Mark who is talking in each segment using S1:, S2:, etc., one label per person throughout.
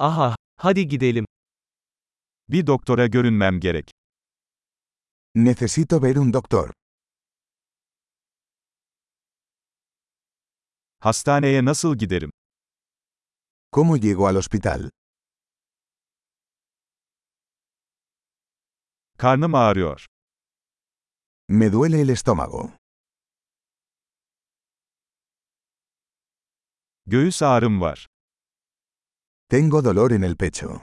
S1: Aha, hadi gidelim.
S2: Bir doktora görünmem gerek.
S3: Necesito ver un doctor.
S2: Hastaneye nasıl giderim?
S3: ¿Cómo llego al hospital?
S2: Karnım ağrıyor.
S3: Me duele el estómago.
S2: Göğüs ağrım var.
S3: Tengo dolor en el pecho.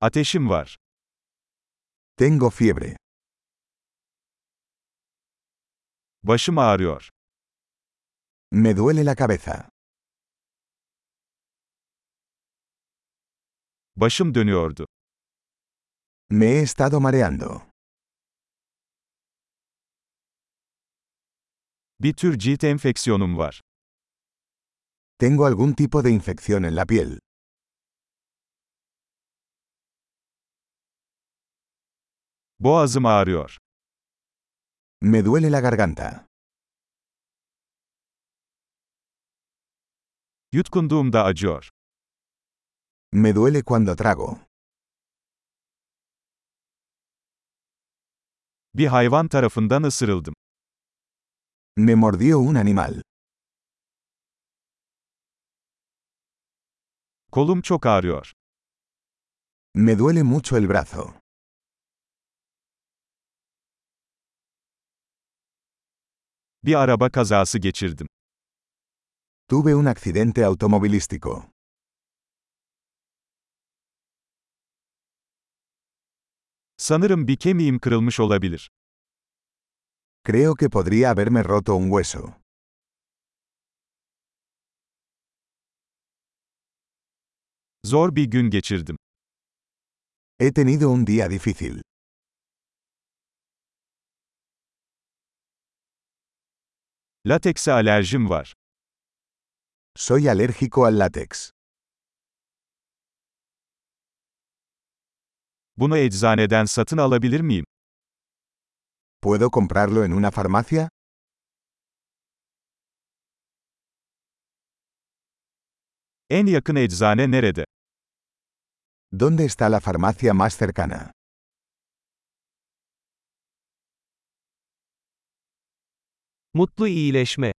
S2: Ateşim var.
S3: Tengo fiebre.
S2: Başım ağrıyor.
S3: Me duele la cabeza.
S2: Başım dönüyordu.
S3: Me he estado mareando.
S2: Bir tür cilt enfeksiyonum var.
S3: Tengo algún tipo de infección en la piel.
S2: Boğazım ağrıyor.
S3: Me duele la garganta.
S2: Yutkunduğumda acıyor.
S3: Me duele cuando trago.
S2: Bir hayvan tarafından ısırıldım.
S3: Me mordió un animal.
S2: Kolum çok ağrıyor.
S3: Me duele mucho el brazo.
S2: Bir araba kazası geçirdim.
S3: Tuve un accidente automovilístico.
S2: Sanırım bir kemiğim kırılmış olabilir.
S3: Creo que podría haberme roto un hueso.
S2: Zor bir gün geçirdim.
S3: He tenido un día difícil.
S2: Latekse alerjim var.
S3: Soy alérgico al látex.
S2: Bunu eczaneden satın alabilir miyim?
S3: ¿Puedo comprarlo en una farmacia?
S2: En yakın eczane nerede?
S3: ¿Dónde está la farmacia más cercana?
S1: Mutlu iyileşme.